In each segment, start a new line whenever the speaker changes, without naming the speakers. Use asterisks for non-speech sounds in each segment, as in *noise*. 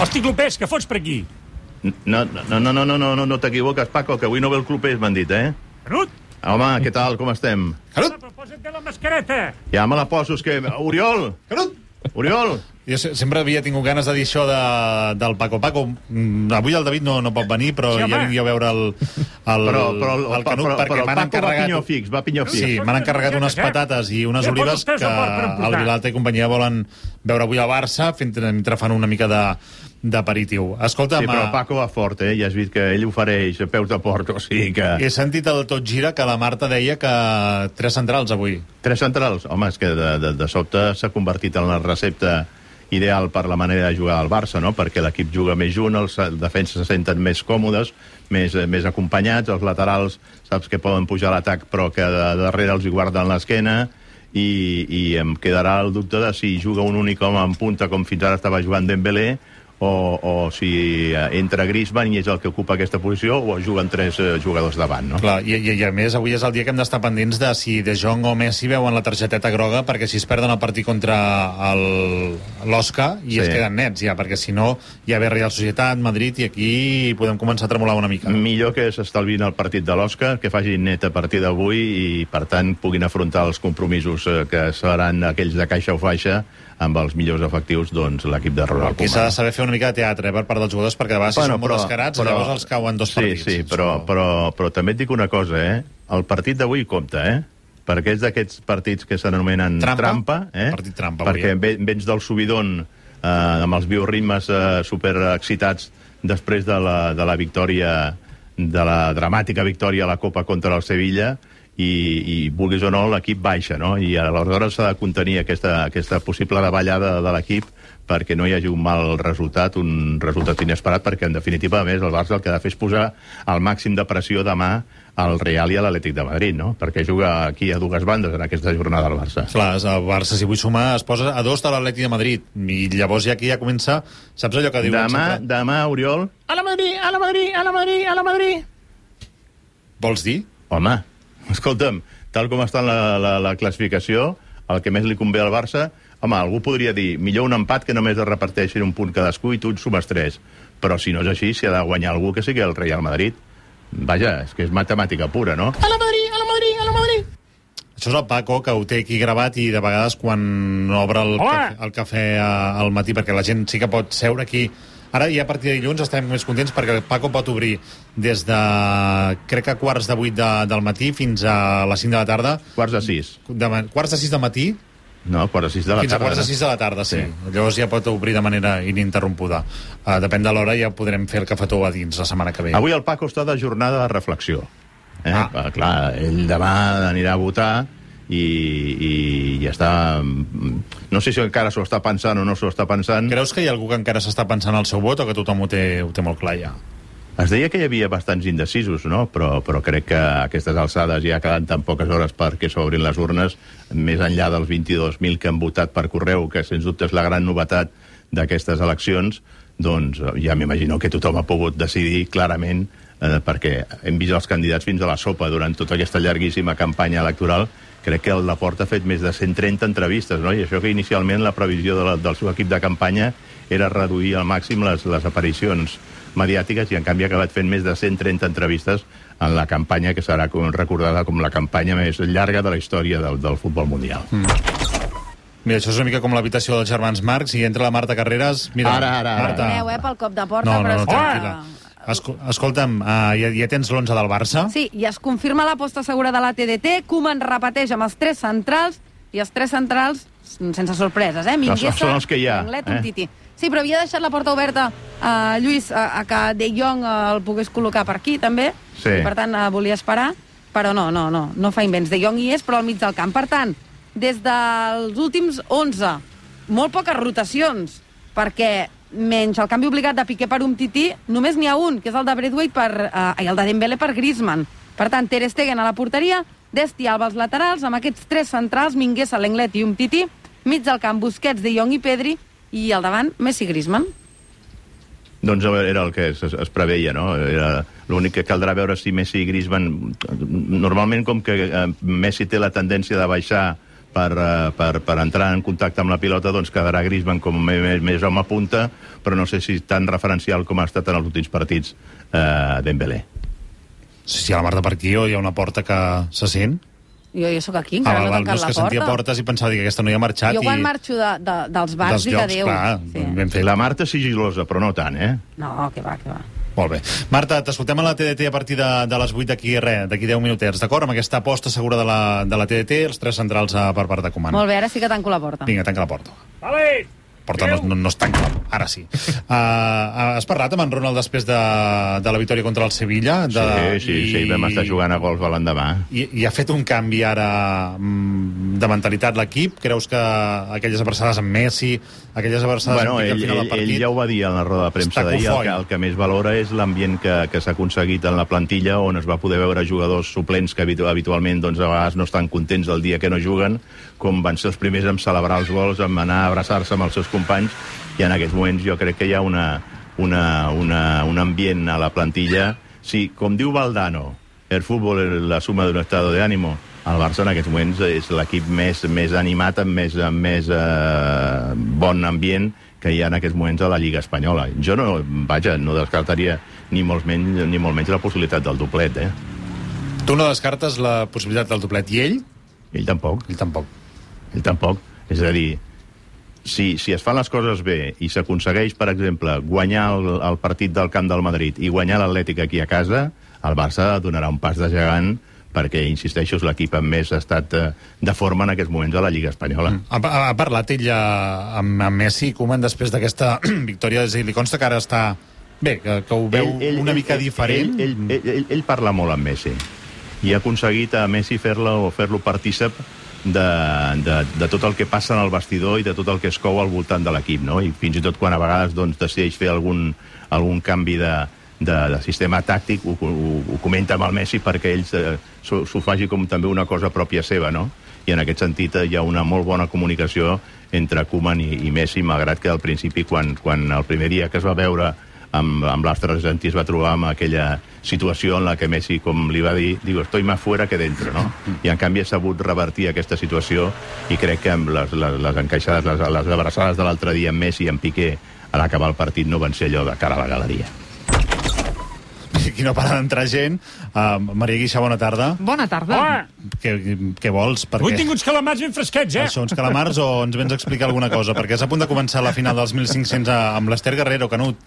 Hosti, Clopés, que fots per aquí?
No, no, no, no, no, no, no, no t'equivoques, Paco, que avui no ve el clubers, m'han dit, eh?
Canut,
Home, què tal, com estem?
home,
Canut!
però posa't bé la mascareta.
Ja me la poso, és que... Oriol!
Canut!
Oriol!
Jo se- sempre havia tingut ganes de dir això de, del Paco Paco. Mm, Avui el David no, no pot venir, però
Sí,
ja
home.
vingui a veure el, el,
Però, però, el,
el Canut,
però,
perquè
però el
m'han
Paco va pinyó
encarregat...
fix, va pinyó fix.
Sí, m'han encarregat unes patates i unes
Ja posa
olives
vostè
que
suport per emportar.
el Vilalta i companyia volen veure avui a Barça, fent, mentre fan una mica de d'aperitiu. Escolta'm,
Sí, però el
eh,
Paco va fort, eh? Ja has vist que ell ofereix a peus de port, o sigui que...
he sentit el tot gira que la Marta deia que tres centrals avui.
Tres centrals. Home, és que de, de, de sobte s'ha convertit en la recepta ideal per la manera de jugar al Barça, no? Perquè l'equip juga més junt, els eh, defenses se senten més còmodes, més, eh, més acompanyats, els laterals saps que poden pujar a l'atac però que de, darrere els hi guarden l'esquena i, i em quedarà el dubte de si juga un únic home en punta com fins ara estava jugant Dembélé o, o si eh, entra Griezmann i és el que ocupa aquesta posició o juguen tres eh, jugadors davant, no?
Clar, i, i, i a més avui és el dia que hem d'estar pendents de si De Jong o Messi veuen la targeteta groga perquè si es perden el partit contra el- l'Osca i
Sí.
sí. es queden nets ja, perquè si no ja ve Real Societat, Madrid i aquí podem començar a tremolar una mica. Mm.
Millor que s'estalvin el partit de l'Òscar, que facin net a partir d'avui i, per tant, puguin afrontar els compromisos eh, que seran aquells de caixa o faixa amb els millors efectius, doncs, l'equip de Ronald
Aquí s'ha
Koeman.
de saber fer una mica de teatre eh, per part dels jugadors perquè de vegades si són molt descarats però, llavors els cauen dos
sí,
partits.
Sí, però,
Això-
però, però també et dic una cosa, eh? El partit d'avui compta, eh? perquè és d'aquests partits que s'anomenen
Trampa?
trampa, trampa eh?
Partit trampa, avui,
perquè
eh?
ve- vens del subidon eh, amb els bioritmes eh, superexcitats després de la, de la victòria de la dramàtica victòria a la Copa contra el Sevilla i, i vulguis o no, l'equip baixa, no? I aleshores s'ha de contenir aquesta, aquesta possible davallada de l'equip perquè no hi hagi un mal resultat, un resultat inesperat, perquè en definitiva, a més, el Barça el que ha de fer és posar el màxim de pressió demà al Real i a l'Atlètic de Madrid, no? Perquè juga aquí a dues bandes en aquesta jornada al Barça.
Clar, és el Barça, si vull sumar, es posa a dos de l'Atleti de Madrid. I llavors ja aquí ja comença... Saps allò que diuen
Demà,
sempre?
demà, Oriol... A la Madrid, a la Madrid, a la Madrid, a la Madrid...
Vols dir?
Home, escolta'm, tal com està la, la, la classificació, el que més li convé al Barça... Home, algú podria dir, millor un empat que només es reparteixin un punt cadascú i tu en sumes tres. Però si no és així, s'hi ha de guanyar algú que sigui el Real Madrid. Vaja, és que és matemàtica pura, no?
Això és el Paco, que ho té aquí gravat i de vegades quan obre el,
Hola!
cafè, el cafè eh, al matí, perquè la gent sí que pot seure aquí. Ara ja a partir de dilluns estem més contents perquè el Paco pot obrir des de, crec que quarts de vuit de, del matí fins a les cinc de la tarda,
Quarts de sis.
de, ma- quarts de sis del matí
No, quarts de sis de la
fins a
tarda. eh?
quarts de sis de la tarda, sí. sí. Llavors ja pot obrir de manera ininterrompuda. Uh, depèn de l'hora, ja podrem fer el cafetó a dins la setmana que ve.
Avui el Paco està de jornada de reflexió. Eh?
Ah.
Ah. Clar, ell demà anirà a votar i, i, i està... mm, No sé si encara s'ho està pensant o no s'ho està pensant.
Creus que hi ha algú que encara s'està pensant al seu vot o que tothom ho té, ho té molt clar ja?
Es deia que hi havia bastants indecisos, no? Però, però crec que a aquestes alçades ja queden tan poques hores perquè s'obrin les urnes, més enllà dels 22.000 que han votat per correu, que sens dubte és la gran novetat d'aquestes eleccions, doncs eh, ja m'imagino que tothom ha pogut decidir clarament eh, perquè hem vist els candidats fins a la sopa durant tota aquesta llarguíssima campanya electoral. Crec que el Laporta ha fet més de 130 entrevistes, no? I això que inicialment la previsió de la, del seu equip de campanya era reduir al màxim les, les aparicions mediàtiques i en canvi ha acabat fent més de 130 entrevistes en la campanya que serà com, recordada com la campanya més llarga de la història del, del futbol mundial. Mm.
Mira, això és una mica com l'habitació dels germans Marx i entra la Marta Carreras... Mira,
Ara, ara, ara.
Marta.
Aneu, eh, pel cop de porta,
No, no,
però
no,
és que- Ah.
tranquil·la. Esco escolta'm, uh, ja, ja tens l'11 del Barça?
Sí, i es confirma l'aposta segura de la TDT, Koeman repeteix amb els tres centrals, i els tres centrals sense sorpreses, eh? Minguesa,
són els que hi ha,
Lenglet,
eh?
Umtiti. Sí, però havia deixat la porta oberta a Lluís a, a que De Jong eh, el pogués col·locar per aquí, també.
Sí.
I, per tant, eh, volia esperar, però no, no, no, no fa invents. De Jong hi és, però al mig del camp. Per tant, des dels últims 11, molt poques rotacions, perquè menys el canvi obligat de Piqué per Umtiti, només n'hi ha un, que és el de Braithwaite per, eh, i el de Dembélé per Griezmann. Per tant, Ter Stegen a la porteria, Desti Alba als laterals, amb aquests tres centrals, Minguesa, Lenglet i Umtiti, mig del camp Busquets, De Jong i Pedri, i al davant Messi i Griezmann.
Doncs a veure, era el que es, es es preveia, no? Era L'únic que caldrà veure si Messi i Griezmann... Normalment, com que eh, Messi té la tendència de baixar per, eh, per, per entrar en contacte amb la pilota, doncs quedarà Griezmann com més, més home punta, però no sé si tan referencial com ha estat en els últims partits eh, Dembélé.
Si hi ha la Marta per aquí o hi ha una porta que se sent...
Jo, jo sóc aquí, encara no he
Ah, no
tancat
és
la
que sentia
porta.
portes i pensava que aquesta no hi ha marxat
Jo quan
i
marxo de, de, dels bars
dels
dic
llocs,
adéu.
clar, doncs ben fet.
La Marta sigilosa, però no tant, eh?
No, que va, que va.
Molt bé. Marta, t'escoltem a la TDT a partir de, de les 8 d'aquí res, d'aquí 10 minutets, d'acord? Amb aquesta aposta segura de la, de la TDT, els tres centrals a, per part de Coman.
Molt bé, ara sí que tanco la porta.
Vinga, tanca la porta.
Vale!
Porta no, no, no es tanca, ara sí. Uh, has parlat amb en Ronald després de, de la victòria contra el Sevilla? De,
Sí, sí, sí, vam estar jugant a gols a l'endemà.
I, I ha fet un canvi ara mm, de mentalitat l'equip? Creus que aquelles abraçades amb Messi, aquelles abraçades
Bueno,
amb
ell,
Piqué al final
ell,
del
ell
partit...
ja ho va dir en la roda de premsa
Està
d'ahir, el,
cofoi.
que- el que més valora és l'ambient que, que s'ha aconseguit en la plantilla, on es va poder veure jugadors suplents que habitu- habitualment doncs, a vegades no estan contents el dia que no juguen, com van ser els primers en celebrar els gols, en anar a abraçar-se amb els seus companys, i en aquests moments jo crec que hi ha una, una, una, un ambient a la plantilla. Sí, com diu Valdano, el futbol és la suma d'un estado de ánimo. El Barça en aquests moments és l'equip més, més animat, amb més, amb més eh, bon ambient que hi ha en aquests moments a la Lliga Espanyola. Jo no, vaja, no descartaria ni molt menys, ni molt menys la possibilitat del doblet, eh?
Tu no descartes la possibilitat del doblet. I ell?
Ell tampoc,
Ell tampoc.
ell tampoc. És a dir, si, si es fan les coses bé i s'aconsegueix, per exemple, guanyar el, el partit del Camp del Madrid i guanyar l'Atlètic aquí a casa, el Barça donarà un pas de gegant perquè, insisteixo, és l'equip amb més estat eh, de forma en aquests moments a la Lliga Espanyola.
Ha, ha, ha parlat ell eh, amb, amb Messi i Koeman després d'aquesta *clears throat* victòria? És a dir, li consta que ara està... Bé, que, que ho veu una mica diferent?
Ell, ell, ell, ell, ell parla molt amb Messi i ha aconseguit a Messi fer-lo fer partícip de, de, de tot el que passa en el vestidor i de tot el que es cou al voltant de l'equip, no? I fins i tot quan a vegades doncs, decideix fer algun, algun canvi de, de, de sistema tàctic, ho, ho, ho comenta amb el Messi perquè ell eh, s'ho s'ho faci com també una cosa pròpia seva, no? I en aquest sentit eh, hi ha una molt bona comunicació entre Koeman i, i Messi, malgrat que al principi, quan, quan el primer dia que es va veure amb, amb l'Astra Argentí es va trobar amb aquella situació en la que Messi, com li va dir, diu, estoy más fuera que dentro, no? I en canvi ha sabut revertir aquesta situació i crec que amb les, les, les encaixades, les, les abraçades de l'altre dia amb Messi i amb Piqué a l'acabar el partit no van ser allò de cara a la galeria.
*laughs* Aquí no para d'entrar gent. Uh, Maria Guixa, bona tarda.
Bona tarda.
Hola!
Què, què vols? Per
Avui
què?
he tingut calamats ben fresquets, eh?
Això, uns calamars o ens vens a explicar alguna cosa? Perquè és a punt de començar la final dels 1.500 a- amb l'Ester Guerrero, Canut.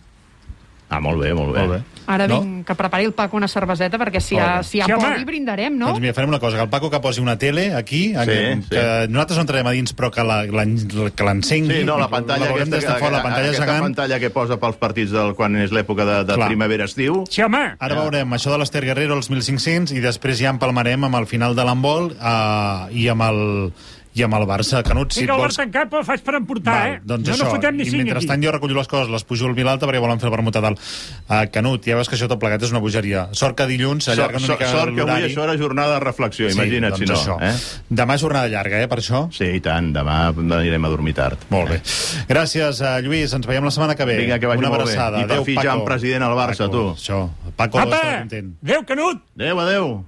Ah, molt bé, molt bé.
Ara
No?
no? vinc, que prepari el Paco una cerveseta, perquè si hi ha,
Molt bé.
si hi ha
Sí, home.
poli brindarem, no?
Doncs mira, farem una cosa, que el Paco que posi una tele aquí, sí, que,
sí.
que nosaltres no entrarem a dins, però que la- la- que l'encengui.
Sí, no, la pantalla,
la veurem
aquesta,
des de fora, la pantalla
aquesta
gegant.
pantalla que posa pels partits del, quan és l'època de, de
Clar.
primavera-estiu.
Sí, home!
Ara veurem això de l'Ester Guerrero als 1.500 i després ja empalmarem amb el final de l'handbol eh, i amb el i amb el Barça. Canut, si
Vinga,
et
el
vols...
Barça en cap el faig per emportar,
Val,
eh? no,
doncs això.
no fotem ni
I
cinc
mentrestant
aquí.
jo recullo les coses, les pujo al Vilalta perquè volen fer el vermut a dalt. Uh, Canut, ja veus que això tot plegat és una bogeria. Sort que dilluns
Sort,
s'allarga una
sort,
mica
sort que avui
l'horari.
això era jornada de reflexió, imagina't
sí,
si no.
doncs
Eh?
Això. Eh? Demà és jornada llarga, eh, per això?
Sí, i tant, demà anirem a dormir tard.
Molt bé. Gràcies, eh, Lluís. Ens veiem la setmana que ve.
Vinga, que vagi
Una
molt bé.
abraçada.
I per
Adéu,
fi ja
Paco.
en president al Barça,
Paco,
tu.
Això. Paco,
Apa!
està content.
Adéu, Canut!
Adéu, adéu.